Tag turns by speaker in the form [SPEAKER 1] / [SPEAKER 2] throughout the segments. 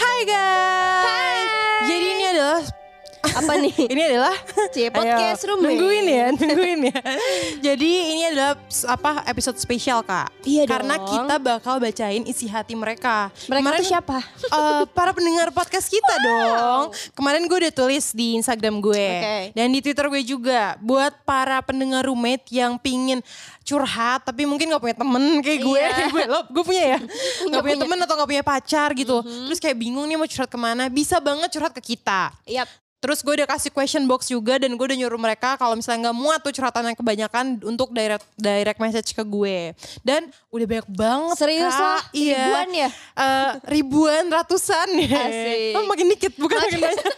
[SPEAKER 1] guys. Jadi ini adalah
[SPEAKER 2] Apa nih?
[SPEAKER 1] ini adalah
[SPEAKER 2] Cie, podcast
[SPEAKER 1] Ayo,
[SPEAKER 2] room.
[SPEAKER 1] Nungguin ya, nungguin ya. Jadi ini adalah s- apa episode spesial kak.
[SPEAKER 2] Iya
[SPEAKER 1] Karena
[SPEAKER 2] dong.
[SPEAKER 1] kita bakal bacain isi hati mereka.
[SPEAKER 2] Mereka tuh siapa?
[SPEAKER 1] eh, para pendengar podcast kita dong. Kemarin gue udah tulis di Instagram gue
[SPEAKER 2] Oke.
[SPEAKER 1] dan di Twitter gue juga. Buat para pendengar roommate yang pingin curhat tapi mungkin gak punya temen kayak gue.
[SPEAKER 2] Iya.
[SPEAKER 1] Kayak gue, lo, gue punya ya? gak punya temen atau gak punya pacar gitu. Terus kayak bingung nih mau curhat kemana. Bisa banget curhat ke kita.
[SPEAKER 2] Yap.
[SPEAKER 1] Terus gue udah kasih question box juga dan gue udah nyuruh mereka kalau misalnya nggak muat tuh curhatan yang kebanyakan untuk direct direct message ke gue. Dan udah banyak banget
[SPEAKER 2] Serius
[SPEAKER 1] Kak.
[SPEAKER 2] lah,
[SPEAKER 1] iya.
[SPEAKER 2] ribuan ya?
[SPEAKER 1] Eh, ribuan, ratusan ya.
[SPEAKER 2] Asik.
[SPEAKER 1] Oh, makin dikit bukan makin banyak.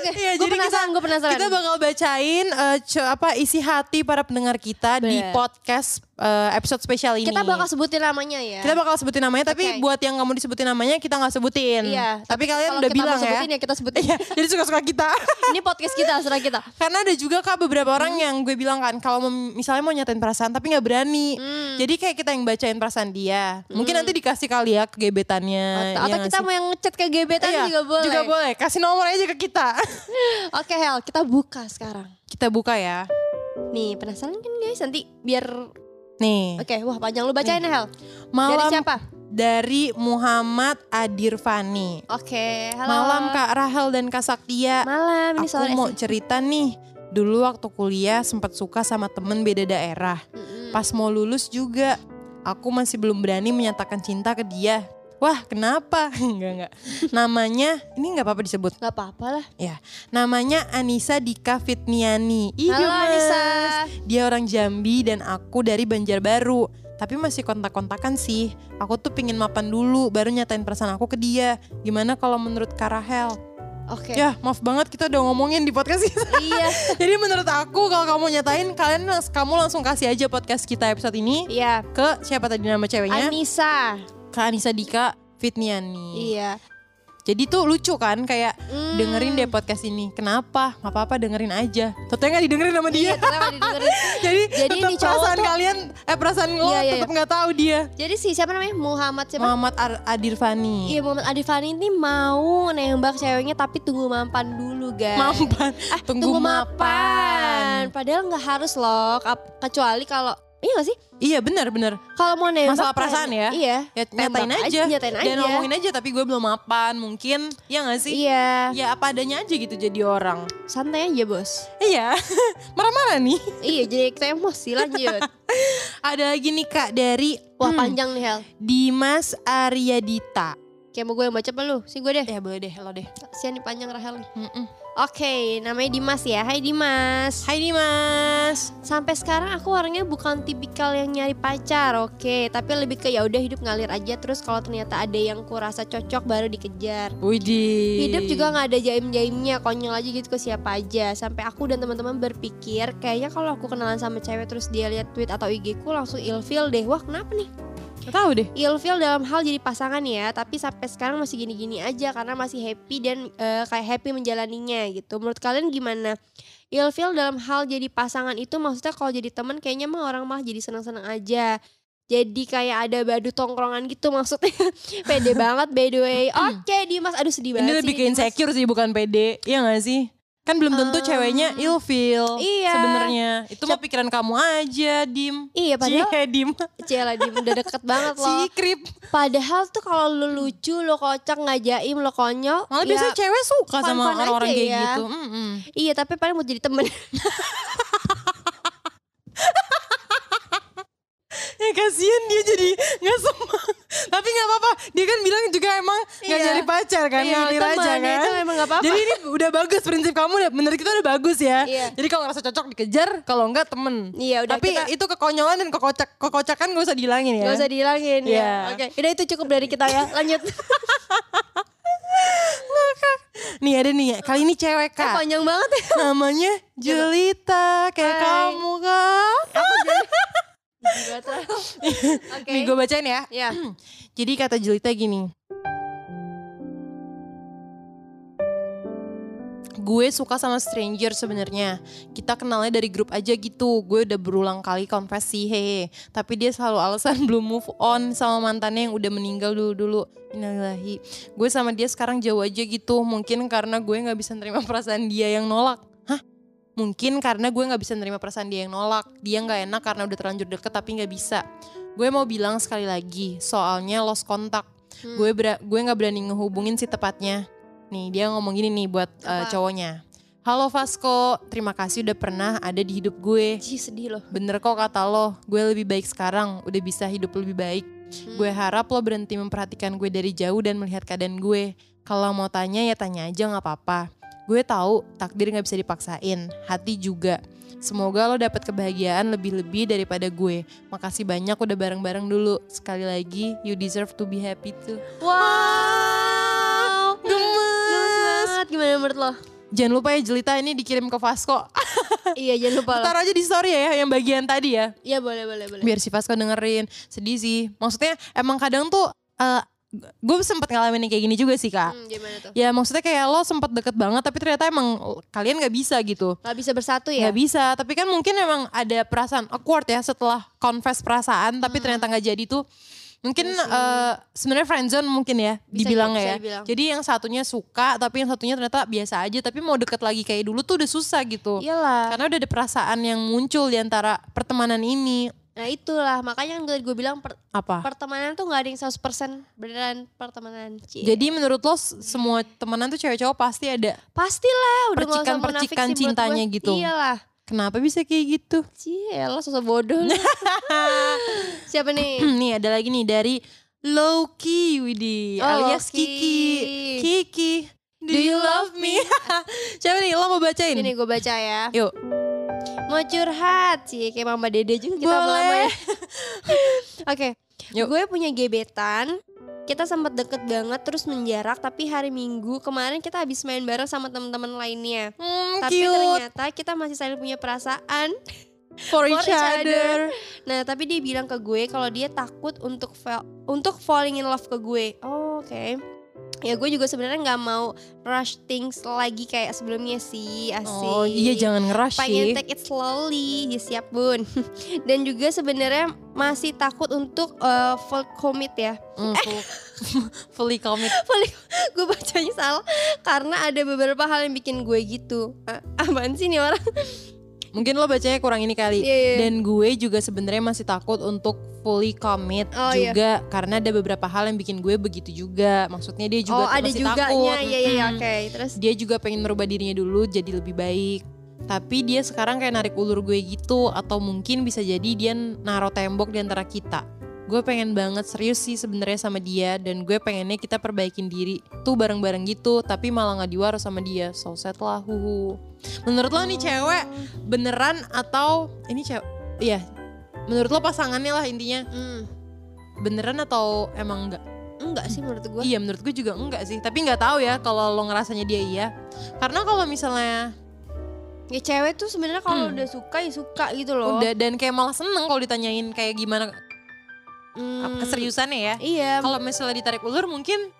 [SPEAKER 2] Oke,
[SPEAKER 1] Iya,
[SPEAKER 2] gue penasaran, gue penasaran.
[SPEAKER 1] Kita bakal bacain eh, ce- apa isi hati para pendengar kita di
[SPEAKER 2] Bener.
[SPEAKER 1] podcast eh, episode spesial ini.
[SPEAKER 2] Kita bakal sebutin namanya ya.
[SPEAKER 1] kita bakal sebutin namanya tapi
[SPEAKER 2] Oke.
[SPEAKER 1] buat yang nggak mau disebutin namanya kita nggak sebutin.
[SPEAKER 2] Iya,
[SPEAKER 1] Tapi kalian
[SPEAKER 2] Kalau
[SPEAKER 1] udah
[SPEAKER 2] kita mau
[SPEAKER 1] bilang ya.
[SPEAKER 2] sebutin ya kita sebutin.
[SPEAKER 1] Iya, jadi suka-suka kita.
[SPEAKER 2] Ini podcast kita, serah kita.
[SPEAKER 1] Karena ada juga kak beberapa orang yang gue bilang kan kalau mem- misalnya mau nyatain perasaan tapi nggak berani.
[SPEAKER 2] Hmm.
[SPEAKER 1] Jadi kayak kita yang bacain perasaan dia. Mungkin nanti dikasih kali ya kegebetannya.
[SPEAKER 2] Atau,
[SPEAKER 1] ya
[SPEAKER 2] atau
[SPEAKER 1] nggak
[SPEAKER 2] kita
[SPEAKER 1] sih?
[SPEAKER 2] mau yang ngechat ke gebetan
[SPEAKER 1] Iya,
[SPEAKER 2] juga boleh.
[SPEAKER 1] Juga boleh. Kasih nomor aja ke kita.
[SPEAKER 2] Oke Hel, kita buka sekarang.
[SPEAKER 1] kita buka ya.
[SPEAKER 2] Nih penasaran kan guys nanti biar
[SPEAKER 1] Nih.
[SPEAKER 2] oke wah panjang lu bacain Hel.
[SPEAKER 1] Malam
[SPEAKER 2] Dari siapa?
[SPEAKER 1] dari Muhammad Adirfani.
[SPEAKER 2] Oke, halo.
[SPEAKER 1] Malam Kak Rahel dan Kak Saktia.
[SPEAKER 2] Malam ini
[SPEAKER 1] Aku
[SPEAKER 2] sore.
[SPEAKER 1] mau cerita nih. Dulu waktu kuliah sempat suka sama temen beda daerah.
[SPEAKER 2] Mm-mm.
[SPEAKER 1] Pas mau lulus juga, aku masih belum berani menyatakan cinta ke dia. Wah, kenapa? Enggak, enggak. Namanya, ini enggak apa-apa disebut.
[SPEAKER 2] Gak apa-apa lah.
[SPEAKER 1] Ya, namanya Anissa Dika Fitniani. Ih,
[SPEAKER 2] Halo
[SPEAKER 1] gemes.
[SPEAKER 2] Anissa.
[SPEAKER 1] Dia orang Jambi dan aku dari Banjarbaru. Tapi masih kontak-kontakan sih. Aku tuh pingin mapan dulu, baru nyatain perasaan aku ke dia. Gimana kalau menurut Karahel?
[SPEAKER 2] Oke.
[SPEAKER 1] Ya, maaf banget kita udah ngomongin di podcast kita.
[SPEAKER 2] iya.
[SPEAKER 1] Jadi menurut aku kalau kamu nyatain, kalian kamu langsung kasih aja podcast kita episode ini
[SPEAKER 2] Iya.
[SPEAKER 1] ke siapa tadi nama ceweknya?
[SPEAKER 2] Anissa.
[SPEAKER 1] Ke Anissa Dika Fitniani.
[SPEAKER 2] Iya.
[SPEAKER 1] Jadi tuh lucu kan kayak
[SPEAKER 2] Hmm.
[SPEAKER 1] dengerin deh podcast ini. Kenapa? Gak apa-apa dengerin aja. Totalnya nggak didengerin sama dia.
[SPEAKER 2] Iya, kenapa didengerin?
[SPEAKER 1] Jadi,
[SPEAKER 2] Jadi
[SPEAKER 1] tetap
[SPEAKER 2] ini cowok
[SPEAKER 1] perasaan
[SPEAKER 2] tuh-
[SPEAKER 1] kalian eh perasaan lo
[SPEAKER 2] Iya, iya,
[SPEAKER 1] tetap nggak tahu dia.
[SPEAKER 2] Jadi si siapa namanya? Muhammad siapa?
[SPEAKER 1] Muhammad Ar- Adirfani.
[SPEAKER 2] Iya Muhammad Adifani ini mau nembak ceweknya tapi tunggu mampan dulu guys.
[SPEAKER 1] Mampan.
[SPEAKER 2] Ah,
[SPEAKER 1] Tunggu mapan.
[SPEAKER 2] Padahal nggak harus loh, kap- kecuali kalau iya gak sih?
[SPEAKER 1] Iya benar-benar.
[SPEAKER 2] Kalau mau nembak
[SPEAKER 1] Masalah
[SPEAKER 2] kan-
[SPEAKER 1] perasaan ya?
[SPEAKER 2] Iya.
[SPEAKER 1] Ya
[SPEAKER 2] Tembak
[SPEAKER 1] nyatain aja.
[SPEAKER 2] aja, nyatain
[SPEAKER 1] Dan
[SPEAKER 2] aja.
[SPEAKER 1] ngomongin aja tapi gue belum mapan mungkin. Ya gak sih?
[SPEAKER 2] Iya.
[SPEAKER 1] Ya apa adanya aja gitu jadi orang.
[SPEAKER 2] Santai aja bos.
[SPEAKER 1] Iya. Marah-marah nih.
[SPEAKER 2] iya jadi kita emosi lanjut.
[SPEAKER 1] Ada lagi nih Kak dari
[SPEAKER 2] Wah
[SPEAKER 1] Hmm.
[SPEAKER 2] panjang nih Hel.
[SPEAKER 1] Dimas Aryadita.
[SPEAKER 2] Kayak mau gue yang baca apa lu? Si gue deh.
[SPEAKER 1] Ya boleh deh, lo deh.
[SPEAKER 2] Sian nih panjang Rahel nih. Oke, namanya Dimas ya. Hai Dimas.
[SPEAKER 1] Hai Dimas.
[SPEAKER 2] Sampai sekarang aku orangnya bukan tipikal yang nyari pacar, oke. Tapi lebih ke ya udah hidup ngalir aja. Terus kalau ternyata ada yang kurasa cocok baru dikejar.
[SPEAKER 1] Widi.
[SPEAKER 2] Hidup juga nggak ada jaim-jaimnya, konyol aja gitu ke siapa aja. Sampai aku dan teman-teman berpikir, kayaknya kalau aku kenalan sama cewek terus dia lihat tweet atau IG ku langsung ilfeel deh. Wah kenapa nih?
[SPEAKER 1] tahu deh.
[SPEAKER 2] ilfeel dalam hal jadi pasangan ya tapi sampai sekarang masih gini-gini aja karena masih happy dan eh, kayak happy menjalaninya gitu menurut kalian gimana ilfeel dalam hal jadi pasangan itu maksudnya kalau jadi teman kayaknya mah orang mah jadi senang-senang aja jadi kayak ada badu tongkrongan gitu maksudnya pede banget by the way oke Dimas aduh sedih
[SPEAKER 1] Hmm. Ini lebih
[SPEAKER 2] banget sih
[SPEAKER 1] ke
[SPEAKER 2] Dimas.
[SPEAKER 1] insecure sih bukan pede. Iya gak sih? Kan belum tentu
[SPEAKER 2] Ah.
[SPEAKER 1] ceweknya ilfeel
[SPEAKER 2] Iya.
[SPEAKER 1] sebenarnya. Itu mah pikiran kamu aja, Dim.
[SPEAKER 2] iya padahal
[SPEAKER 1] Cie, Dim.
[SPEAKER 2] Cila Dim udah deket banget
[SPEAKER 1] Si
[SPEAKER 2] loh
[SPEAKER 1] Krip.
[SPEAKER 2] Padahal tuh kalau lu lucu, lu kocak, ngajaim, lu konyol
[SPEAKER 1] Malah
[SPEAKER 2] ya-
[SPEAKER 1] biasanya cewek suka sama
[SPEAKER 2] fun-fun
[SPEAKER 1] orang-orang
[SPEAKER 2] aja
[SPEAKER 1] kayak
[SPEAKER 2] ya.
[SPEAKER 1] gitu. Mm-mm.
[SPEAKER 2] Iya tapi paling mau jadi temen
[SPEAKER 1] Ya kasihan dia jadi gak semangat. Tapi gak apa-apa. Dia kan bilang juga emang gak
[SPEAKER 2] Iya.
[SPEAKER 1] nyari pacar kan.
[SPEAKER 2] Iya,
[SPEAKER 1] ngalir
[SPEAKER 2] teman,
[SPEAKER 1] aja
[SPEAKER 2] ya,
[SPEAKER 1] kan.
[SPEAKER 2] itu emang gak apa-apa.
[SPEAKER 1] Jadi ini udah bagus prinsip kamu. udah- Menurut kita udah bagus ya.
[SPEAKER 2] Iya.
[SPEAKER 1] Jadi kalau ngerasa cocok dikejar. Kalau enggak temen.
[SPEAKER 2] Iya, udah,
[SPEAKER 1] Tapi
[SPEAKER 2] kita-
[SPEAKER 1] itu kekonyolan dan kekocak, kekocakan gak usah dihilangin ya.
[SPEAKER 2] Gak usah dihilangin
[SPEAKER 1] Iya.
[SPEAKER 2] ya. Oke, udah itu cukup dari kita ya. Lanjut.
[SPEAKER 1] Nih ada nih. Kali ini cewek
[SPEAKER 2] Eh,
[SPEAKER 1] kak.
[SPEAKER 2] panjang banget ya.
[SPEAKER 1] Namanya Jelita. Kayak
[SPEAKER 2] Hai.
[SPEAKER 1] kamu kak.
[SPEAKER 2] Gila, Tra. Oke.
[SPEAKER 1] Nih gue bacain ya.
[SPEAKER 2] Ya.
[SPEAKER 1] Jadi kata Julita gini. gue suka sama stranger sebenarnya. Kita kenalnya dari grup aja gitu. Gue udah berulang kali konversi hehe. Tapi dia selalu alasan belum move on sama mantannya yang udah meninggal dulu dulu. Innalillahi. Gue sama dia sekarang jauh aja gitu. Mungkin karena gue nggak bisa nerima perasaan dia yang nolak. Hah? Mungkin karena gue nggak bisa nerima perasaan dia yang nolak. Dia nggak enak karena udah terlanjur deket tapi nggak bisa. Gue mau bilang sekali lagi, soalnya lost kontak.
[SPEAKER 2] Hmm.
[SPEAKER 1] Gue bera- gue nggak berani ngehubungin sih tepatnya. Nih dia ngomong gini nih buat uh,
[SPEAKER 2] Apa?
[SPEAKER 1] cowoknya. Halo Vasco, terima kasih udah pernah ada di hidup gue.
[SPEAKER 2] Ih, sedih loh.
[SPEAKER 1] Bener kok kata lo, gue lebih baik sekarang, udah bisa hidup lebih baik.
[SPEAKER 2] Hmm.
[SPEAKER 1] Gue harap lo berhenti memperhatikan gue dari jauh dan melihat keadaan gue. Kalau mau tanya ya tanya aja nggak apa-apa. Gue tahu takdir nggak bisa dipaksain, hati juga. Semoga lo dapat kebahagiaan lebih-lebih daripada gue. Makasih banyak udah bareng-bareng dulu. Sekali lagi, you deserve to be happy too.
[SPEAKER 2] Wow. Gemes
[SPEAKER 1] Gemes.
[SPEAKER 2] banget. Gimana menurut lo?
[SPEAKER 1] Jangan lupa ya Jelita ini dikirim ke Vasco.
[SPEAKER 2] iya jangan lupa lo.
[SPEAKER 1] Taruh aja di story ya yang bagian tadi ya.
[SPEAKER 2] Iya boleh boleh boleh.
[SPEAKER 1] biar si Vasco dengerin sedih sih maksudnya emang kadang tuh eh, gue sempet ngalamin yang kayak gini juga sih kak
[SPEAKER 2] Hmm, gimana tuh?
[SPEAKER 1] ya maksudnya kayak lo sempet deket banget tapi ternyata emang kalian nggak bisa gitu
[SPEAKER 2] Gak bisa bersatu ya?
[SPEAKER 1] nggak bisa tapi kan mungkin emang ada perasaan awkward ya setelah confess perasaan tapi ternyata nggak jadi tuh mungkin
[SPEAKER 2] Hmm. Iya sih.
[SPEAKER 1] eh, sebenarnya friendzone mungkin ya
[SPEAKER 2] Bisa,
[SPEAKER 1] dibilangnya
[SPEAKER 2] bisa
[SPEAKER 1] ya
[SPEAKER 2] dibilang.
[SPEAKER 1] jadi yang satunya suka tapi yang satunya ternyata biasa aja tapi mau deket lagi kayak dulu tuh udah susah gitu
[SPEAKER 2] Iyalah.
[SPEAKER 1] karena udah ada perasaan yang muncul di antara pertemanan ini
[SPEAKER 2] Nah itulah makanya yang gue bilang per-
[SPEAKER 1] apa
[SPEAKER 2] pertemanan tuh nggak ada yang 100% beneran pertemanan. Cie.
[SPEAKER 1] Jadi menurut lo s- semua temenan tuh cewek cowok pasti ada.
[SPEAKER 2] pastilah udah nggak usah
[SPEAKER 1] percikan-percikan
[SPEAKER 2] munafik sih buat gue.
[SPEAKER 1] cintanya gitu.
[SPEAKER 2] Iyalah.
[SPEAKER 1] Kenapa bisa kayak gitu?
[SPEAKER 2] Cie, lo sosok bodoh. lu. Siapa nih?
[SPEAKER 1] nih ada lagi nih dari Loki Widi
[SPEAKER 2] Oh,
[SPEAKER 1] alias
[SPEAKER 2] Loki.
[SPEAKER 1] Kiki. Kiki, do you love me? Siapa nih lo mau bacain?
[SPEAKER 2] Ini gue baca ya.
[SPEAKER 1] Yuk.
[SPEAKER 2] Mau curhat sih kayak Mama Dede juga kita
[SPEAKER 1] Boleh.
[SPEAKER 2] lama ya. Oke.
[SPEAKER 1] Yuk.
[SPEAKER 2] Gue punya gebetan. Kita sempat deket banget terus menjarak tapi hari Minggu kemarin kita habis main bareng sama teman-teman lainnya.
[SPEAKER 1] Hmm,
[SPEAKER 2] Tapi
[SPEAKER 1] cute
[SPEAKER 2] ternyata kita masih saling punya perasaan.
[SPEAKER 1] for each
[SPEAKER 2] for each
[SPEAKER 1] other.
[SPEAKER 2] Nah, tapi dia bilang ke gue kalau dia takut untuk fa- untuk falling in love ke gue. Oh, oke. Ya gue juga sebenarnya nggak mau rush things lagi kayak sebelumnya sih, asik.
[SPEAKER 1] Oh iya jangan ngerush
[SPEAKER 2] Pengen
[SPEAKER 1] sih.
[SPEAKER 2] take it slowly, ya siap bun. Dan juga sebenarnya masih takut untuk eh, full commit ya.
[SPEAKER 1] Hmm, full- fully commit.
[SPEAKER 2] gue bacanya salah karena ada beberapa hal yang bikin gue gitu. Ah, apaan sih nih orang?
[SPEAKER 1] Mungkin lo bacanya kurang ini kali.
[SPEAKER 2] Iya, iya.
[SPEAKER 1] Dan gue juga sebenarnya masih takut untuk fully commit
[SPEAKER 2] Oh, iya.
[SPEAKER 1] juga karena ada beberapa hal yang bikin gue begitu juga. Maksudnya dia juga
[SPEAKER 2] oh ada
[SPEAKER 1] masih
[SPEAKER 2] juga
[SPEAKER 1] takut.
[SPEAKER 2] ya, ya, ya,
[SPEAKER 1] Mm-mm.
[SPEAKER 2] oke. Terus
[SPEAKER 1] Dia juga pengen merubah dirinya dulu jadi lebih baik. Tapi dia sekarang kayak narik ulur gue gitu atau mungkin bisa jadi dia naruh tembok di antara kita. Gue pengen banget serius sih sebenarnya sama dia dan gue pengennya kita perbaikin diri tuh bareng-bareng gitu tapi malah nggak diwaro sama dia. So sad lah huhu. Menurut lo nih cewek beneran atau ini cewek iya menurut lo pasangannya lah intinya
[SPEAKER 2] Hmm,
[SPEAKER 1] beneran atau emang enggak
[SPEAKER 2] enggak sih menurut gue.
[SPEAKER 1] iya menurut gue juga enggak sih tapi nggak tahu ya kalau lo ngerasanya dia iya karena kalau misalnya
[SPEAKER 2] Ya cewek tuh sebenarnya kalau
[SPEAKER 1] Hmm.
[SPEAKER 2] udah suka ya suka gitu loh.
[SPEAKER 1] udah dan kayak malah seneng kalau ditanyain kayak gimana
[SPEAKER 2] Hmm,
[SPEAKER 1] keseriusannya ya
[SPEAKER 2] Iya.
[SPEAKER 1] kalau misalnya ditarik ulur mungkin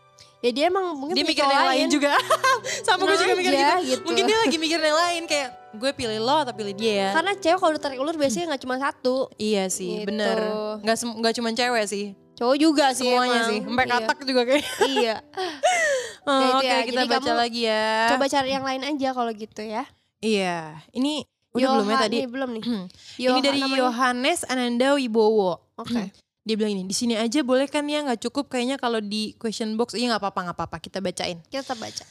[SPEAKER 2] Ya dia emang mungkin
[SPEAKER 1] dia
[SPEAKER 2] punya
[SPEAKER 1] mikir
[SPEAKER 2] cowok
[SPEAKER 1] yang lain juga sama gue
[SPEAKER 2] Tenang
[SPEAKER 1] juga mikir
[SPEAKER 2] aja,
[SPEAKER 1] gitu
[SPEAKER 2] gitu.
[SPEAKER 1] mungkin dia lagi mikir yang lain kayak gue pilih lo atau pilih dia ya
[SPEAKER 2] Karena cewek kalau ditarik ulur biasanya nggak cuma satu,
[SPEAKER 1] iya sih
[SPEAKER 2] Kan Gitu.
[SPEAKER 1] bener nggak sem- nggak cuma cewek sih
[SPEAKER 2] cowok juga sih
[SPEAKER 1] semuanya
[SPEAKER 2] emang.
[SPEAKER 1] sih sampai
[SPEAKER 2] Iya.
[SPEAKER 1] katak juga kayak
[SPEAKER 2] Iya.
[SPEAKER 1] Oh,
[SPEAKER 2] Ya, itu
[SPEAKER 1] Oke
[SPEAKER 2] ya.
[SPEAKER 1] kita
[SPEAKER 2] Jadi
[SPEAKER 1] baca
[SPEAKER 2] kamu
[SPEAKER 1] lagi ya.
[SPEAKER 2] Coba cari yang lain aja kalau gitu ya.
[SPEAKER 1] Iya, ini udah belum ya
[SPEAKER 2] Yoha-
[SPEAKER 1] tadi.
[SPEAKER 2] nih, belum nih.
[SPEAKER 1] ini
[SPEAKER 2] Yoha
[SPEAKER 1] dari
[SPEAKER 2] namanya.
[SPEAKER 1] Yohanes Ananda Wibowo.
[SPEAKER 2] Oke.
[SPEAKER 1] Dia bilang ini di sini aja boleh kan ya nggak cukup kayaknya kalau di question box iya nggak apa-apa nggak apa-apa kita bacain.
[SPEAKER 2] Kita tetap baca.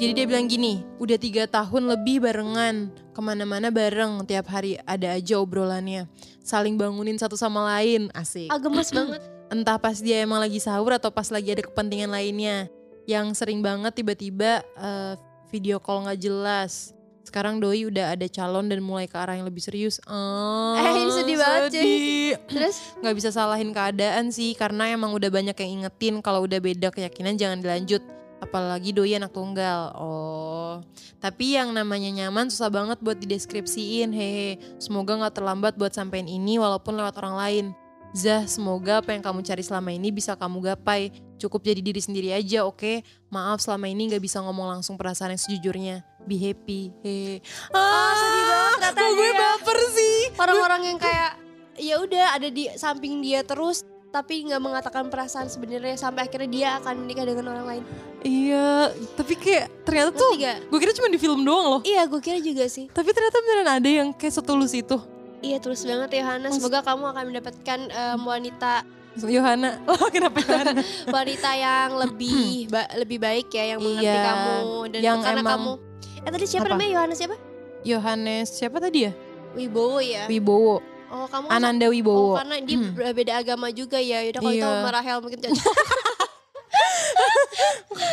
[SPEAKER 1] Jadi dia bilang gini, udah tiga tahun lebih barengan, kemana-mana bareng, tiap hari ada aja obrolannya, saling bangunin satu sama lain, asik.
[SPEAKER 2] Ah gemes banget.
[SPEAKER 1] entah pas dia emang lagi sahur atau pas lagi ada kepentingan lainnya yang sering banget tiba-tiba eh, video call nggak jelas sekarang doi udah ada calon dan mulai ke arah yang lebih serius Ah,
[SPEAKER 2] Eh, ini sedih banget, cuy.
[SPEAKER 1] sedih.
[SPEAKER 2] Terus
[SPEAKER 1] nggak bisa salahin keadaan sih karena emang udah banyak yang ingetin kalau udah beda keyakinan jangan dilanjut apalagi doi anak tunggal oh tapi yang namanya nyaman susah banget buat dideskripsiin hehe semoga nggak terlambat buat sampein ini walaupun lewat orang lain Zah, semoga apa yang kamu cari selama ini bisa kamu gapai. Cukup jadi diri sendiri aja, oke? Maaf selama ini nggak bisa ngomong langsung perasaan yang sejujurnya. Be happy. Hey.
[SPEAKER 2] Ah, sedih banget
[SPEAKER 1] kok
[SPEAKER 2] katanya.
[SPEAKER 1] gue baper sih.
[SPEAKER 2] Orang-orang yang kayak ya udah ada di samping dia terus tapi nggak mengatakan perasaan sebenarnya sampai akhirnya dia akan menikah dengan orang lain.
[SPEAKER 1] Iya, tapi kayak ternyata tuh
[SPEAKER 2] Ngerti gak?
[SPEAKER 1] gue kira cuma di film doang loh.
[SPEAKER 2] Iya, gue kira juga sih.
[SPEAKER 1] Tapi ternyata beneran ada yang kayak setulus itu.
[SPEAKER 2] Iya, terus banget Yohana. Semoga kamu akan mendapatkan em, wanita
[SPEAKER 1] Yohana, oh kenapa Yohana?
[SPEAKER 2] wanita yang lebih ba- lebih baik ya, yang mengerti
[SPEAKER 1] Iya,
[SPEAKER 2] kamu dan
[SPEAKER 1] yang
[SPEAKER 2] karena
[SPEAKER 1] emang-
[SPEAKER 2] kamu. Eh tadi siapa
[SPEAKER 1] Apa?
[SPEAKER 2] namanya Yohana siapa?
[SPEAKER 1] Yohanes siapa tadi ya?
[SPEAKER 2] Wibowo ya.
[SPEAKER 1] Wibowo,
[SPEAKER 2] Oh, kamu kan
[SPEAKER 1] Ananda
[SPEAKER 2] Oh,
[SPEAKER 1] Wibowo.
[SPEAKER 2] karena dia
[SPEAKER 1] Hmm.
[SPEAKER 2] berbeda agama juga ya. Yaudah kalau
[SPEAKER 1] Iya.
[SPEAKER 2] itu sama Rahel mungkin cocok.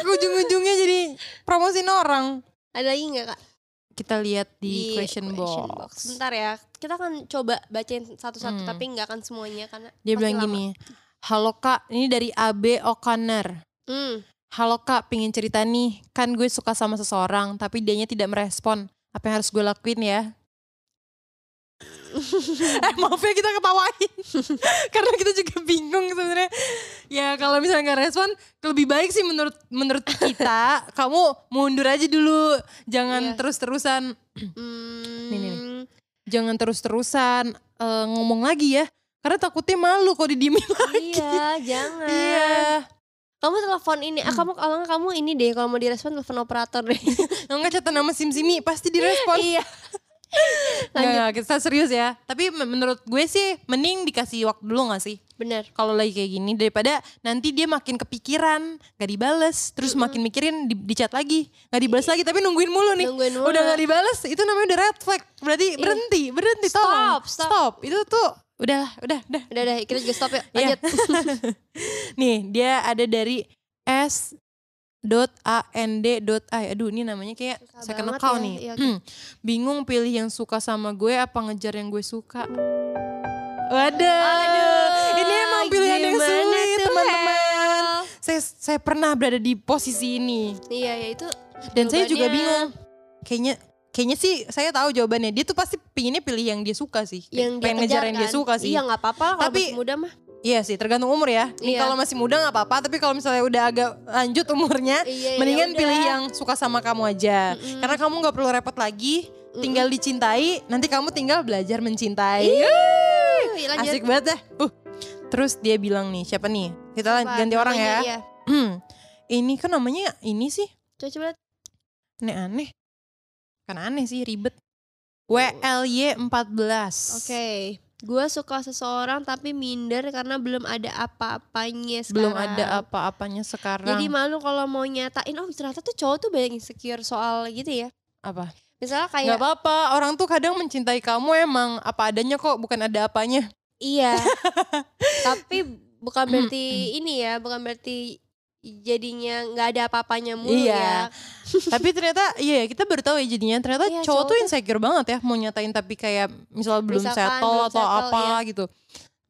[SPEAKER 1] Ujung-ujungnya jadi promosiin orang.
[SPEAKER 2] Ada lagi nggak kak
[SPEAKER 1] Kita lihat di, question, box.
[SPEAKER 2] Sebentar ya. Kita akan coba bacain satu-satu,
[SPEAKER 1] Hmm.
[SPEAKER 2] tapi nggak akan semuanya karena
[SPEAKER 1] Dia
[SPEAKER 2] pasti
[SPEAKER 1] bilang
[SPEAKER 2] lama.
[SPEAKER 1] gini, Halo kak, ini dari AB O'Connor.
[SPEAKER 2] Hmm.
[SPEAKER 1] Halo kak, pengen cerita nih. Kan gue suka sama seseorang, tapi dianya tidak merespon. Apa yang harus gue lakuin ya? eh maaf ya kita ketawain. Karena kita juga bingung sebenarnya. Ya kalau misalnya nggak respon, lebih baik sih menurut menurut kita. kamu mundur aja dulu. Jangan
[SPEAKER 2] Iya.
[SPEAKER 1] terus-terusan.
[SPEAKER 2] Hmm.
[SPEAKER 1] Nih, nih, Jangan terus-terusan eh, ngomong lagi ya. Karena takutnya malu kalau didiemin lagi.
[SPEAKER 2] Iya, jangan.
[SPEAKER 1] Iya. Hmm.
[SPEAKER 2] Kamu telepon ini, ah, kamu kalau nggak kamu ini deh kalau mau direspon telepon operator deh.
[SPEAKER 1] Enggak catat nama Simsimi, pasti direspon.
[SPEAKER 2] iya.
[SPEAKER 1] Nggak,
[SPEAKER 2] Lanjut.
[SPEAKER 1] nggak, kita serius ya. Tapi men- menurut gue sih mending dikasih waktu dulu gak sih?
[SPEAKER 2] Bener.
[SPEAKER 1] Kalau lagi kayak gini daripada nanti dia makin kepikiran, gak dibales, terus makin mikirin di, di chat lagi, gak dibales lagi tapi nungguin mulu nih.
[SPEAKER 2] Nungguin mulu.
[SPEAKER 1] Udah gak dibales, itu namanya udah red flag. Berarti berhenti, berhenti
[SPEAKER 2] Stop,
[SPEAKER 1] tolong.
[SPEAKER 2] stop.
[SPEAKER 1] Itu tuh udah udah udah.
[SPEAKER 2] Udah udah, kita juga stop ya.
[SPEAKER 1] Iya.
[SPEAKER 2] Lanjut.
[SPEAKER 1] Nih, dia ada dari S dot a n d dot i aduh ini namanya kayak
[SPEAKER 2] Susah
[SPEAKER 1] second
[SPEAKER 2] banget
[SPEAKER 1] account
[SPEAKER 2] ya,
[SPEAKER 1] nih
[SPEAKER 2] iya, oke.
[SPEAKER 1] Hmm, bingung pilih yang suka sama gue apa ngejar yang gue suka waduh
[SPEAKER 2] Aduh,
[SPEAKER 1] ini emang pilihan yang
[SPEAKER 2] gimana
[SPEAKER 1] sulit
[SPEAKER 2] tuh,
[SPEAKER 1] teman-teman
[SPEAKER 2] Hel?
[SPEAKER 1] saya saya pernah berada di posisi ini
[SPEAKER 2] Iya, ya itu
[SPEAKER 1] dan saya juga
[SPEAKER 2] Jawabannya-
[SPEAKER 1] bingung kayaknya kayaknya sih saya tahu jawabannya dia tuh pasti pinginnya pilih yang dia suka sih
[SPEAKER 2] yang dia
[SPEAKER 1] pengen ngejar yang dia
[SPEAKER 2] kejar kan.
[SPEAKER 1] suka sih
[SPEAKER 2] Iya, nggak apa-apa lah kalau
[SPEAKER 1] Tapi-
[SPEAKER 2] masih muda mah.
[SPEAKER 1] Iya sih, tergantung umur ya. Nih
[SPEAKER 2] Iya.
[SPEAKER 1] kalau masih muda nggak apa-apa, tapi kalau misalnya udah agak lanjut umurnya,
[SPEAKER 2] Iya, ya
[SPEAKER 1] mendingan
[SPEAKER 2] udah.
[SPEAKER 1] pilih yang suka sama kamu aja.
[SPEAKER 2] Mm-mm.
[SPEAKER 1] Karena kamu nggak perlu repot lagi, tinggal dicintai. Nanti kamu tinggal belajar mencintai.
[SPEAKER 2] Yuk,
[SPEAKER 1] Yeay,
[SPEAKER 2] Iya, lanjut.
[SPEAKER 1] Asik banget dah. Uh. Terus dia bilang nih, siapa nih? Kita lan-
[SPEAKER 2] Apa
[SPEAKER 1] ganti orang
[SPEAKER 2] namanya?
[SPEAKER 1] ya.
[SPEAKER 2] Iya.
[SPEAKER 1] ini kan namanya ini sih
[SPEAKER 2] Coba coba
[SPEAKER 1] aneh-aneh. Kan aneh sih, ribet. WLY14.
[SPEAKER 2] Oke, gue suka seseorang tapi minder karena belum ada apa-apanya sekarang.
[SPEAKER 1] Belum ada apa-apanya sekarang.
[SPEAKER 2] Jadi malu kalau mau nyatain, oh ternyata tuh cowok tuh banyak insecure soal gitu ya.
[SPEAKER 1] apa?
[SPEAKER 2] Misalnya
[SPEAKER 1] Gak
[SPEAKER 2] kayak,
[SPEAKER 1] apa-apa, orang tuh kadang mencintai kamu emang apa adanya kok, bukan ada apanya.
[SPEAKER 2] iya, tapi bukan berarti ini ya, bukan berarti jadinya nggak ada apa-apanya mulu
[SPEAKER 1] Iya.
[SPEAKER 2] ya.
[SPEAKER 1] tapi ternyata, iya kita baru tahu ya jadinya, ternyata cowok
[SPEAKER 2] Iya, cowok
[SPEAKER 1] tuh
[SPEAKER 2] tuh-
[SPEAKER 1] insecure banget ya, mau nyatain tapi kayak misal belum
[SPEAKER 2] Misalkan
[SPEAKER 1] settle
[SPEAKER 2] kan, belum
[SPEAKER 1] atau
[SPEAKER 2] settle, iya.
[SPEAKER 1] apa gitu.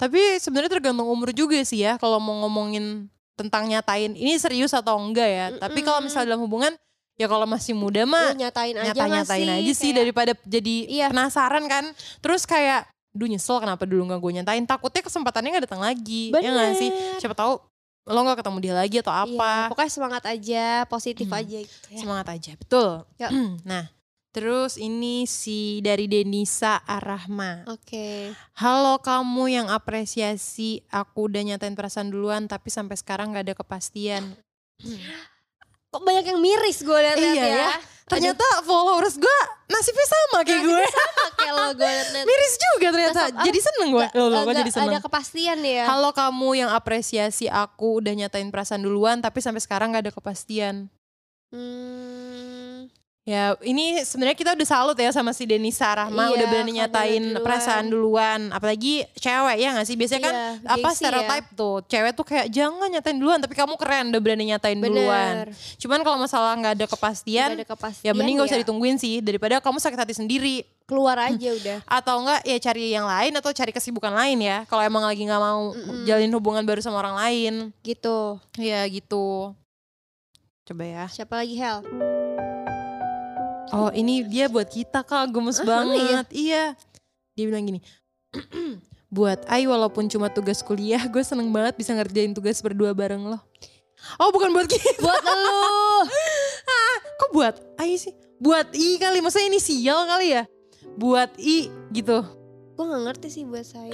[SPEAKER 1] Tapi sebenarnya tergantung umur juga sih ya, kalau mau ngomongin tentang nyatain, ini serius atau enggak ya. Tapi kalau
[SPEAKER 2] Mm-mm.
[SPEAKER 1] misalnya dalam hubungan, ya kalau masih muda
[SPEAKER 2] Lu
[SPEAKER 1] mah
[SPEAKER 2] nyatain aja nggak
[SPEAKER 1] nyata-nyatain aja sih
[SPEAKER 2] Kayak,
[SPEAKER 1] daripada jadi
[SPEAKER 2] Iya.
[SPEAKER 1] penasaran kan. Terus kayak, duh nyesel kenapa dulu gak gue nyatain, takutnya kesempatannya gak datang lagi, ya gak sih?
[SPEAKER 2] bener.
[SPEAKER 1] siapa tahu lo nggak ketemu dia lagi atau
[SPEAKER 2] Iya,
[SPEAKER 1] apa
[SPEAKER 2] pokoknya semangat aja, positif
[SPEAKER 1] Hmm.
[SPEAKER 2] aja gitu ya.
[SPEAKER 1] semangat aja betul
[SPEAKER 2] Ya.
[SPEAKER 1] nah terus ini si dari Denisa Arahma
[SPEAKER 2] Oke.
[SPEAKER 1] halo kamu yang apresiasi aku udah nyatain perasaan duluan tapi sampai sekarang nggak ada kepastian
[SPEAKER 2] Kok banyak yang miris gue liat-liat
[SPEAKER 1] Iya
[SPEAKER 2] ya.
[SPEAKER 1] ya. ternyata followers gue nasibnya sama kayak gue
[SPEAKER 2] Oke lo gue liat-liat.
[SPEAKER 1] miris juga ternyata
[SPEAKER 2] Nasab- apa?
[SPEAKER 1] jadi seneng gue Loh, loh, gue
[SPEAKER 2] Agak
[SPEAKER 1] jadi seneng
[SPEAKER 2] ada kepastian ya.
[SPEAKER 1] Halo kamu yang apresiasi aku udah nyatain perasaan duluan tapi sampai sekarang nggak ada kepastian.
[SPEAKER 2] Hmm,
[SPEAKER 1] Ya, ini sebenarnya kita udah salut ya sama si Denisa Rahma
[SPEAKER 2] Iya,
[SPEAKER 1] udah berani
[SPEAKER 2] kalau
[SPEAKER 1] nyatain
[SPEAKER 2] duluan.
[SPEAKER 1] perasaan duluan, apalagi cewek ya nggak sih? Biasanya kan
[SPEAKER 2] iya,
[SPEAKER 1] apa
[SPEAKER 2] gengsi ya.
[SPEAKER 1] stereotype tuh, cewek tuh kayak jangan nyatain duluan, tapi kamu keren udah berani nyatain duluan.
[SPEAKER 2] Bener.
[SPEAKER 1] Cuman kalau masalah nggak ada
[SPEAKER 2] Nggak
[SPEAKER 1] kepastian,
[SPEAKER 2] ada kepastian
[SPEAKER 1] ya mending gak usah ditungguin sih daripada kamu sakit hati sendiri
[SPEAKER 2] Keluar
[SPEAKER 1] Ah.
[SPEAKER 2] aja udah.
[SPEAKER 1] atau enggak ya cari yang lain atau cari kesibukan lain ya kalau emang lagi nggak mau
[SPEAKER 2] Mm-mm.
[SPEAKER 1] jalin hubungan baru sama orang lain
[SPEAKER 2] Gitu.
[SPEAKER 1] ya gitu coba ya
[SPEAKER 2] Siapa lagi Hel?
[SPEAKER 1] Oh ini dia buat kita kak, gemes Iya.
[SPEAKER 2] Ah, emang
[SPEAKER 1] banget. Iya. Dia bilang gini, Buat Ai walaupun cuma tugas kuliah, gue seneng banget bisa ngerjain tugas berdua bareng lo. Oh bukan buat kita. Ah,
[SPEAKER 2] Buat lu.
[SPEAKER 1] Kok buat Ai sih? Buat I kali, maksudnya inisial kali ya? Buat I gitu.
[SPEAKER 2] Gue gak ngerti sih buat saya.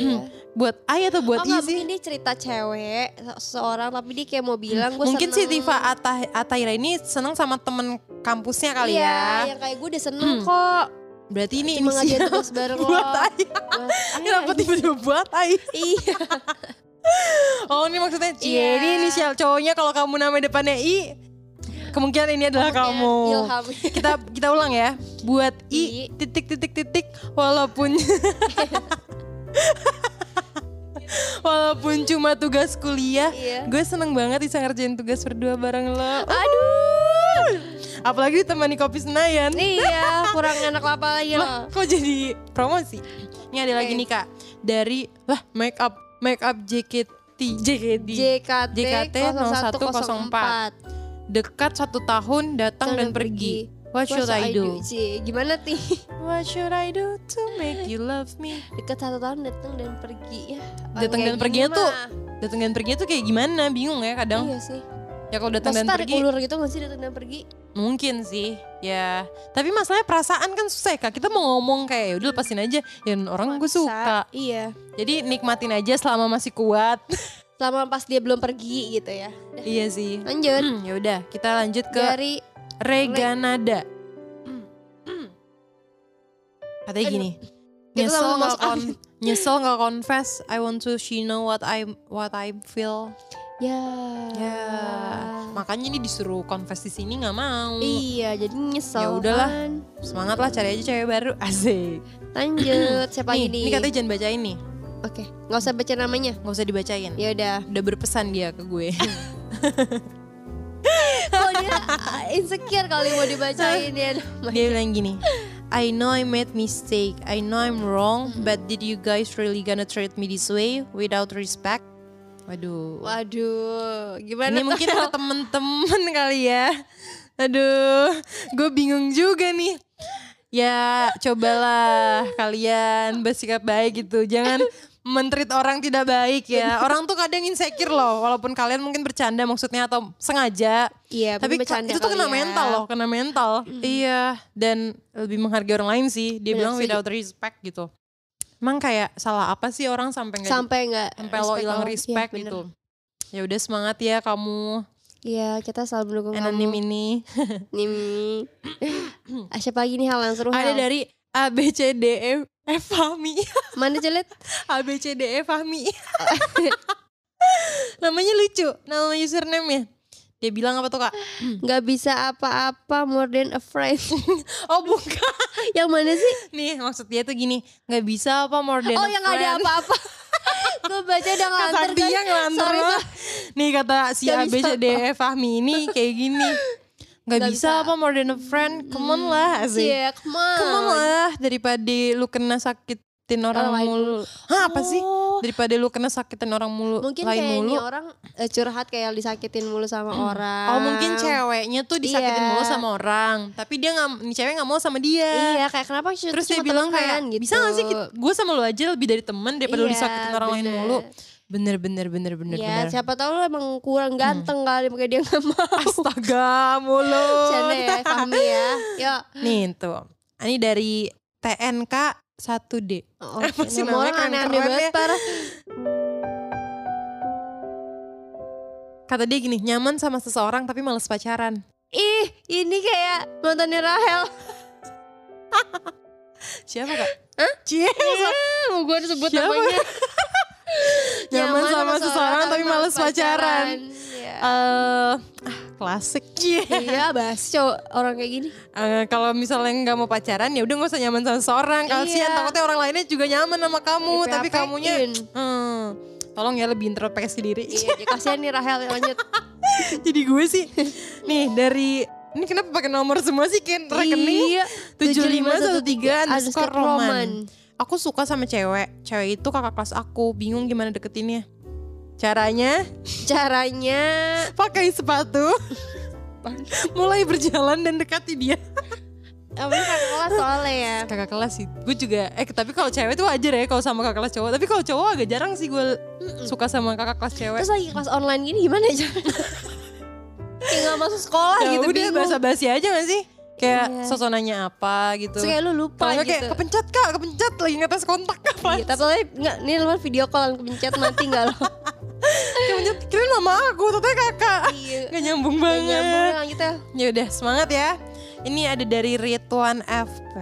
[SPEAKER 1] Buat Ai atau Hmm, buat
[SPEAKER 2] oh,
[SPEAKER 1] I
[SPEAKER 2] nggak,
[SPEAKER 1] sih?
[SPEAKER 2] mungkin dia cerita cewek se- seorang tapi dia kayak mau bilang gue
[SPEAKER 1] Mungkin si Tifa Ata- Ataira ini seneng sama temen kampusnya kali ya.
[SPEAKER 2] Iya, yang kayak gue udah seneng kok.
[SPEAKER 1] Berarti ini
[SPEAKER 2] Cuma ngajak
[SPEAKER 1] inisial
[SPEAKER 2] tugas bareng lo. Iya.
[SPEAKER 1] buat Ai.
[SPEAKER 2] Buat Ai
[SPEAKER 1] Kenapa
[SPEAKER 2] aja.
[SPEAKER 1] tiba-tiba buat Ai?
[SPEAKER 2] gitu. Iya.
[SPEAKER 1] Oh ini maksudnya Cie,
[SPEAKER 2] Iya.
[SPEAKER 1] ini inisial cowoknya kalau kamu nama depannya I Kemungkinan ini adalah kamu
[SPEAKER 2] Ilham.
[SPEAKER 1] Kita kita ulang ya Buat I,
[SPEAKER 2] I.
[SPEAKER 1] titik titik titik Walaupun Walaupun cuma tugas kuliah
[SPEAKER 2] Iya.
[SPEAKER 1] Gue seneng banget bisa ngerjain tugas berdua bareng lo
[SPEAKER 2] Aduh.
[SPEAKER 1] Apalagi ditemani kopi Senayan
[SPEAKER 2] iya, kurang enak iya. apa lagi
[SPEAKER 1] Lah,
[SPEAKER 2] loh.
[SPEAKER 1] kok jadi promosi? Ini ada lagi
[SPEAKER 2] Oke.
[SPEAKER 1] nih kak Dari lah make up make up JKT JKT
[SPEAKER 2] JKT,
[SPEAKER 1] JKT 0104. dekat satu tahun datang dan,
[SPEAKER 2] Datang dan
[SPEAKER 1] pergi. What
[SPEAKER 2] What
[SPEAKER 1] should I do?
[SPEAKER 2] Cie, gimana ti?
[SPEAKER 1] What should I do to make you love me?
[SPEAKER 2] Dekat satu tahun datang dan pergi ya. Orang
[SPEAKER 1] Datang
[SPEAKER 2] kayak
[SPEAKER 1] dan perginya
[SPEAKER 2] gini
[SPEAKER 1] tuh
[SPEAKER 2] mah.
[SPEAKER 1] Datang dan pergi tuh kayak gimana? Bingung ya kadang.
[SPEAKER 2] Iya sih.
[SPEAKER 1] Ya kalau datang
[SPEAKER 2] Maksudnya
[SPEAKER 1] dan
[SPEAKER 2] tarik
[SPEAKER 1] pergi
[SPEAKER 2] ulur gitu nggak sih datang dan pergi?
[SPEAKER 1] mungkin sih. Ya. Tapi masalahnya perasaan kan susah ya Kak. Kita mau ngomong kayak udah lepasin aja. Ya orang gue
[SPEAKER 2] Maksa.
[SPEAKER 1] suka.
[SPEAKER 2] Iya.
[SPEAKER 1] Jadi nikmatin aja selama masih kuat.
[SPEAKER 2] Selama pas dia belum pergi gitu ya.
[SPEAKER 1] iya sih.
[SPEAKER 2] Lanjut.
[SPEAKER 1] Hmm, ya udah, kita lanjut ke
[SPEAKER 2] Dari
[SPEAKER 1] Reganada. Katanya
[SPEAKER 2] Aduh.
[SPEAKER 1] gini.
[SPEAKER 2] Kita
[SPEAKER 1] Nyesel
[SPEAKER 2] sama
[SPEAKER 1] nggak
[SPEAKER 2] Mas Afif.
[SPEAKER 1] kon nyesel nggak confess I want to she know what I what I feel
[SPEAKER 2] ya.
[SPEAKER 1] ya makanya ini disuruh confess di sini nggak mau
[SPEAKER 2] Iya, jadi nyesel.
[SPEAKER 1] Ya udahlah.
[SPEAKER 2] kan.
[SPEAKER 1] semangat lah cari aja cewek baru asik
[SPEAKER 2] Lanjut, siapa
[SPEAKER 1] nih,
[SPEAKER 2] lagi
[SPEAKER 1] ini katanya jangan bacain nih
[SPEAKER 2] Oke, nggak usah baca namanya.
[SPEAKER 1] nggak usah dibacain
[SPEAKER 2] Ya udah.
[SPEAKER 1] udah berpesan dia ke gue
[SPEAKER 2] Kalau dia ah, insecure kali mau dibacain ya.
[SPEAKER 1] dia bilang gini I know I made mistake I know I'm wrong but did you guys really gonna treat me this way without respect waduh
[SPEAKER 2] Waduh,
[SPEAKER 1] Ini
[SPEAKER 2] gimana tuh?
[SPEAKER 1] mungkin ke temen-temen kali ya. Aduh, gue bingung juga nih. Ya, cobalah kalian bersikap baik gitu. Jangan mentrit orang tidak baik ya. Orang tuh kadang insecure loh, walaupun kalian mungkin bercanda maksudnya atau sengaja.
[SPEAKER 2] Iya,
[SPEAKER 1] Tapi
[SPEAKER 2] mungkin bercanda
[SPEAKER 1] itu tuh
[SPEAKER 2] kali
[SPEAKER 1] kena
[SPEAKER 2] ya.
[SPEAKER 1] mental loh, kena mental. Iya, dan lebih menghargai orang lain sih. Dia
[SPEAKER 2] Benar,
[SPEAKER 1] bilang
[SPEAKER 2] setuju.
[SPEAKER 1] without respect gitu. Emang kayak salah apa sih orang sampai nggak
[SPEAKER 2] sampai nggak
[SPEAKER 1] sampai lo
[SPEAKER 2] respect
[SPEAKER 1] hilang
[SPEAKER 2] orang. Iya,
[SPEAKER 1] respect
[SPEAKER 2] bener.
[SPEAKER 1] gitu. Ya udah semangat ya kamu
[SPEAKER 2] Iya, kita selalu mendukung
[SPEAKER 1] anonim
[SPEAKER 2] kamu.
[SPEAKER 1] ini.
[SPEAKER 2] Nimi. Ah, siapa lagi nih hal yang seru?
[SPEAKER 1] Ada
[SPEAKER 2] Hal?
[SPEAKER 1] dari ABCDE eh Fahmi.
[SPEAKER 2] mana celet?
[SPEAKER 1] ABCDE E, Fahmi. Namanya lucu, nama username ya. Dia bilang apa tuh kak?
[SPEAKER 2] Nggak bisa apa-apa more than a friend.
[SPEAKER 1] Oh bukan.
[SPEAKER 2] yang mana sih?
[SPEAKER 1] Nih maksud dia tuh gini, nggak bisa apa more than a
[SPEAKER 2] Oh yang nggak ada
[SPEAKER 1] friend.
[SPEAKER 2] apa-apa. Gue baca udah
[SPEAKER 1] Kata
[SPEAKER 2] ngelantur
[SPEAKER 1] dia
[SPEAKER 2] kan.
[SPEAKER 1] ngelantur
[SPEAKER 2] Sorry,
[SPEAKER 1] lah. Nih kata si
[SPEAKER 2] Nggak bisa
[SPEAKER 1] ABCDE E, Fahmi ini kayak gini. Nggak
[SPEAKER 2] Nggak
[SPEAKER 1] bisa
[SPEAKER 2] bisa.
[SPEAKER 1] apa more than a friend, come on lah. asik.
[SPEAKER 2] Iya, come on.
[SPEAKER 1] Come on lah daripada lu kena sakitin orang
[SPEAKER 2] Orang lain
[SPEAKER 1] mulu. Hah, apa sih?
[SPEAKER 2] Oh.
[SPEAKER 1] Daripada lu kena sakitin orang mulu
[SPEAKER 2] Mungkin
[SPEAKER 1] lain
[SPEAKER 2] kayak
[SPEAKER 1] mulu.
[SPEAKER 2] ini orang eh, curhat kayak disakitin mulu sama orang.
[SPEAKER 1] Oh mungkin ceweknya tuh disakitin
[SPEAKER 2] Iya.
[SPEAKER 1] mulu sama orang, tapi dia nggak, nih cewek nggak mau sama dia.
[SPEAKER 2] Iya, kayak kenapa sih
[SPEAKER 1] Terus dia
[SPEAKER 2] cuma
[SPEAKER 1] bilang
[SPEAKER 2] temenan
[SPEAKER 1] kayak,
[SPEAKER 2] gitu.
[SPEAKER 1] bisa gak sih gue sama lu aja lebih dari temen daripada lu
[SPEAKER 2] Iya,
[SPEAKER 1] disakitin orang lain
[SPEAKER 2] bener.
[SPEAKER 1] mulu. Bener bener bener bener
[SPEAKER 2] ya,
[SPEAKER 1] bener.
[SPEAKER 2] siapa tahu lu emang
[SPEAKER 1] Hmm.
[SPEAKER 2] kurang ganteng kali makanya dia gak mau.
[SPEAKER 1] Astaga mulu.
[SPEAKER 2] Canda ya, Fahmi ya. Yuk.
[SPEAKER 1] Nih tuh, ini dari TNK 1D.
[SPEAKER 2] Oh,
[SPEAKER 1] Apa sih namanya
[SPEAKER 2] nama orang aneh-aneh
[SPEAKER 1] keren-keren
[SPEAKER 2] banget
[SPEAKER 1] ya?
[SPEAKER 2] parah.
[SPEAKER 1] Kata dia gini, nyaman sama seseorang tapi males pacaran.
[SPEAKER 2] Ih, ini kayak mantannya Rahel.
[SPEAKER 1] Siapa kak? Hah? Iya, Cie,
[SPEAKER 2] Mau gue sebut
[SPEAKER 1] Siapa?
[SPEAKER 2] namanya.
[SPEAKER 1] Nyaman sama seseorang tapi males pacaran.
[SPEAKER 2] Iya.
[SPEAKER 1] eh ah, klasik.
[SPEAKER 2] Iya, basco orang kayak gini.
[SPEAKER 1] Eh, kalau misalnya nggak mau pacaran ya udah nggak usah nyaman sama seorang. Kasihan
[SPEAKER 2] Iya.
[SPEAKER 1] takutnya orang lainnya juga nyaman sama kamu, tapi
[SPEAKER 2] Di-PHP-in.
[SPEAKER 1] kamunya hmm, tolong ya lebih introspeksi diri.
[SPEAKER 2] Iya, dia kasihan nih Rahel lanjut.
[SPEAKER 1] Jadi gue sih nih dari ini kenapa pakai nomor semua sih Ken rekening
[SPEAKER 2] Iya,
[SPEAKER 1] 7513
[SPEAKER 2] underscore
[SPEAKER 1] underscore Roman. Aku suka sama cewek. Cewek itu kakak kelas aku, bingung gimana deketinnya. Caranya
[SPEAKER 2] Caranya
[SPEAKER 1] pakai sepatu, mulai berjalan dan dekati dia.
[SPEAKER 2] Apa kakak kan kelas soalnya ya.
[SPEAKER 1] kakak kelas sih gue juga eh tapi kalau cewek tuh wajar ya kalau sama kakak kelas cowok tapi kalau cowok agak jarang sih gue suka sama kakak kelas cewek
[SPEAKER 2] Terus lagi kelas online gini gimana aja? Tinggal masuk sekolah
[SPEAKER 1] ya
[SPEAKER 2] gitu
[SPEAKER 1] udah
[SPEAKER 2] bingung.
[SPEAKER 1] bahasa basi aja gak sih kayak
[SPEAKER 2] Iya.
[SPEAKER 1] sosonanya apa gitu
[SPEAKER 2] Terus kayak lu lupa
[SPEAKER 1] kalau nggak kayak
[SPEAKER 2] gitu.
[SPEAKER 1] kepencet kak kepencet lagi ngetes kontak kapan
[SPEAKER 2] Iya, tapi lo enggak, ini lo video callan kepencet mati enggak lo?
[SPEAKER 1] kepencet kirain mama aku ternyata kakak
[SPEAKER 2] Iya.
[SPEAKER 1] nggak nyambung
[SPEAKER 2] Nggak
[SPEAKER 1] banget
[SPEAKER 2] nyambung lah gitu.
[SPEAKER 1] Ya udah semangat ya. Ini ada dari Ridwan FP.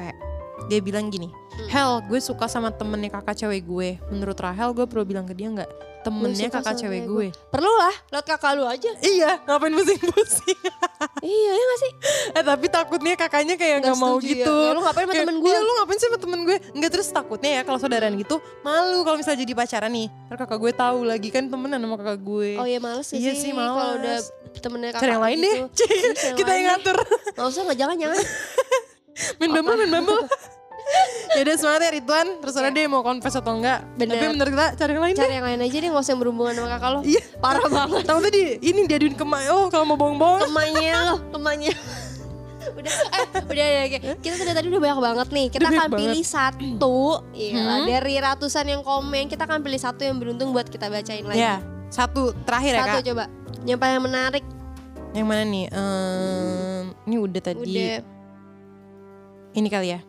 [SPEAKER 1] Dia bilang gini,
[SPEAKER 2] Hmm.
[SPEAKER 1] Hel, gue suka sama temennya kakak cewek gue. Menurut Rahel, gue perlu bilang ke dia nggak temennya
[SPEAKER 2] suka
[SPEAKER 1] kakak
[SPEAKER 2] sama
[SPEAKER 1] cewek
[SPEAKER 2] cewek
[SPEAKER 1] gue.
[SPEAKER 2] Perlu lah, lewat kakak lu aja.
[SPEAKER 1] Iya, ngapain pusing-pusing?
[SPEAKER 2] iya, ya nggak sih?
[SPEAKER 1] eh tapi takutnya kakaknya kayak nggak mau
[SPEAKER 2] setuju ya.
[SPEAKER 1] gitu.
[SPEAKER 2] Ya, lu ngapain sama
[SPEAKER 1] Kayak,
[SPEAKER 2] temen Hmm. gue?
[SPEAKER 1] Iya lu ngapain sih sama temen gue Enggak terus takutnya ya kalau saudaraan gitu Malu kalau misalnya jadi pacaran nih Ntar kakak gue tahu lagi kan temenan sama kakak gue
[SPEAKER 2] Oh iya males sih,
[SPEAKER 1] Iya
[SPEAKER 2] sih
[SPEAKER 1] sih,
[SPEAKER 2] kalau
[SPEAKER 1] males.
[SPEAKER 2] udah temennya kakak
[SPEAKER 1] Cari yang lain deh
[SPEAKER 2] gitu. Iya, cari yang
[SPEAKER 1] Kita yang
[SPEAKER 2] lain deh.
[SPEAKER 1] ngatur
[SPEAKER 2] Nggak usah, nggak jangan jangan.
[SPEAKER 1] Main bumble, main bumble. Yaudah semangat ya Ridwan. Terus ada deh mau confess atau enggak.
[SPEAKER 2] Bener.
[SPEAKER 1] Tapi menurut kita cari yang lain
[SPEAKER 2] Cari
[SPEAKER 1] deh.
[SPEAKER 2] yang lain aja deh, nggak usah yang berhubungan sama kakak lo.
[SPEAKER 1] Iya.
[SPEAKER 2] Parah banget.
[SPEAKER 1] Tahu tadi ini diaduin ke mak. Oh kalau mau bohong-bohong.
[SPEAKER 2] Emaknya lo, emaknya. udah, eh, udah, udah, oke. Kita tuh dari tadi udah banyak banget nih. Kita
[SPEAKER 1] Udah banyak Hmm.
[SPEAKER 2] akan pilih satu, iya lah, dari ratusan yang komen, kita akan pilih satu yang beruntung buat kita bacain lagi.
[SPEAKER 1] Ya satu terakhir ya
[SPEAKER 2] Satu
[SPEAKER 1] kak.
[SPEAKER 2] coba, yang paling menarik.
[SPEAKER 1] Yang mana nih? Ehm, ini udah tadi.
[SPEAKER 2] Udah.
[SPEAKER 1] Ini kali ya.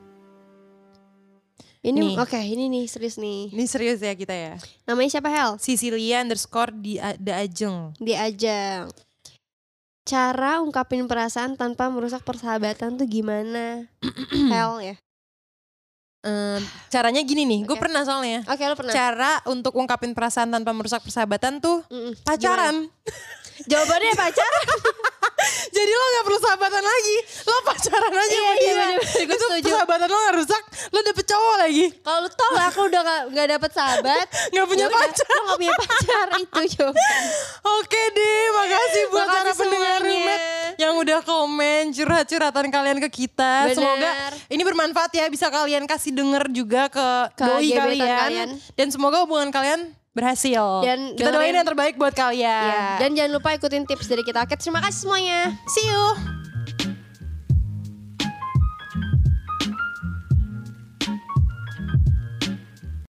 [SPEAKER 2] Ini,
[SPEAKER 1] Nih.
[SPEAKER 2] oke, ini nih serius nih.
[SPEAKER 1] Ini serius ya kita ya.
[SPEAKER 2] Namanya siapa Hel?
[SPEAKER 1] Sicilia underscore di The Ajeng.
[SPEAKER 2] Di Ajang. Cara ungkapin perasaan tanpa merusak persahabatan tuh gimana? Hel ya.
[SPEAKER 1] Ehm, caranya gini nih. Gue
[SPEAKER 2] Oke.
[SPEAKER 1] pernah soalnya.
[SPEAKER 2] Oke, lo pernah?
[SPEAKER 1] Cara untuk ungkapin perasaan tanpa merusak persahabatan tuh
[SPEAKER 2] Mm-mm.
[SPEAKER 1] pacaran.
[SPEAKER 2] Gimana? Jawabannya pacar.
[SPEAKER 1] Jadi lo gak perlu sahabatan lagi. Lo pacaran aja sama
[SPEAKER 2] Iya, iya,
[SPEAKER 1] dia.
[SPEAKER 2] bener-bener. Gue
[SPEAKER 1] Itu
[SPEAKER 2] setuju.
[SPEAKER 1] persahabatan lo gak rusak. Lo dapet cowok lagi.
[SPEAKER 2] Kalau lu tau aku udah gak, nggak dapet sahabat,
[SPEAKER 1] Gak punya
[SPEAKER 2] ya udah,
[SPEAKER 1] pacar.
[SPEAKER 2] Lo gak punya pacar itu jawaban.
[SPEAKER 1] Oke deh. Makasih buat
[SPEAKER 2] Makasih
[SPEAKER 1] para pendengar
[SPEAKER 2] semuanya.
[SPEAKER 1] rumet. Yang udah komen curhat-curhatan kalian ke kita.
[SPEAKER 2] Bener.
[SPEAKER 1] Semoga ini bermanfaat ya. Bisa kalian kasih denger juga ke,
[SPEAKER 2] Ke
[SPEAKER 1] doi
[SPEAKER 2] gebetan
[SPEAKER 1] kalian.
[SPEAKER 2] kalian.
[SPEAKER 1] Dan semoga hubungan kalian berhasil.
[SPEAKER 2] Dan Iya,
[SPEAKER 1] Kita
[SPEAKER 2] dengerin-
[SPEAKER 1] doain yang terbaik buat kalian.
[SPEAKER 2] Dan jangan lupa ikutin tips dari kita. Oke, terima kasih semuanya.
[SPEAKER 1] See you.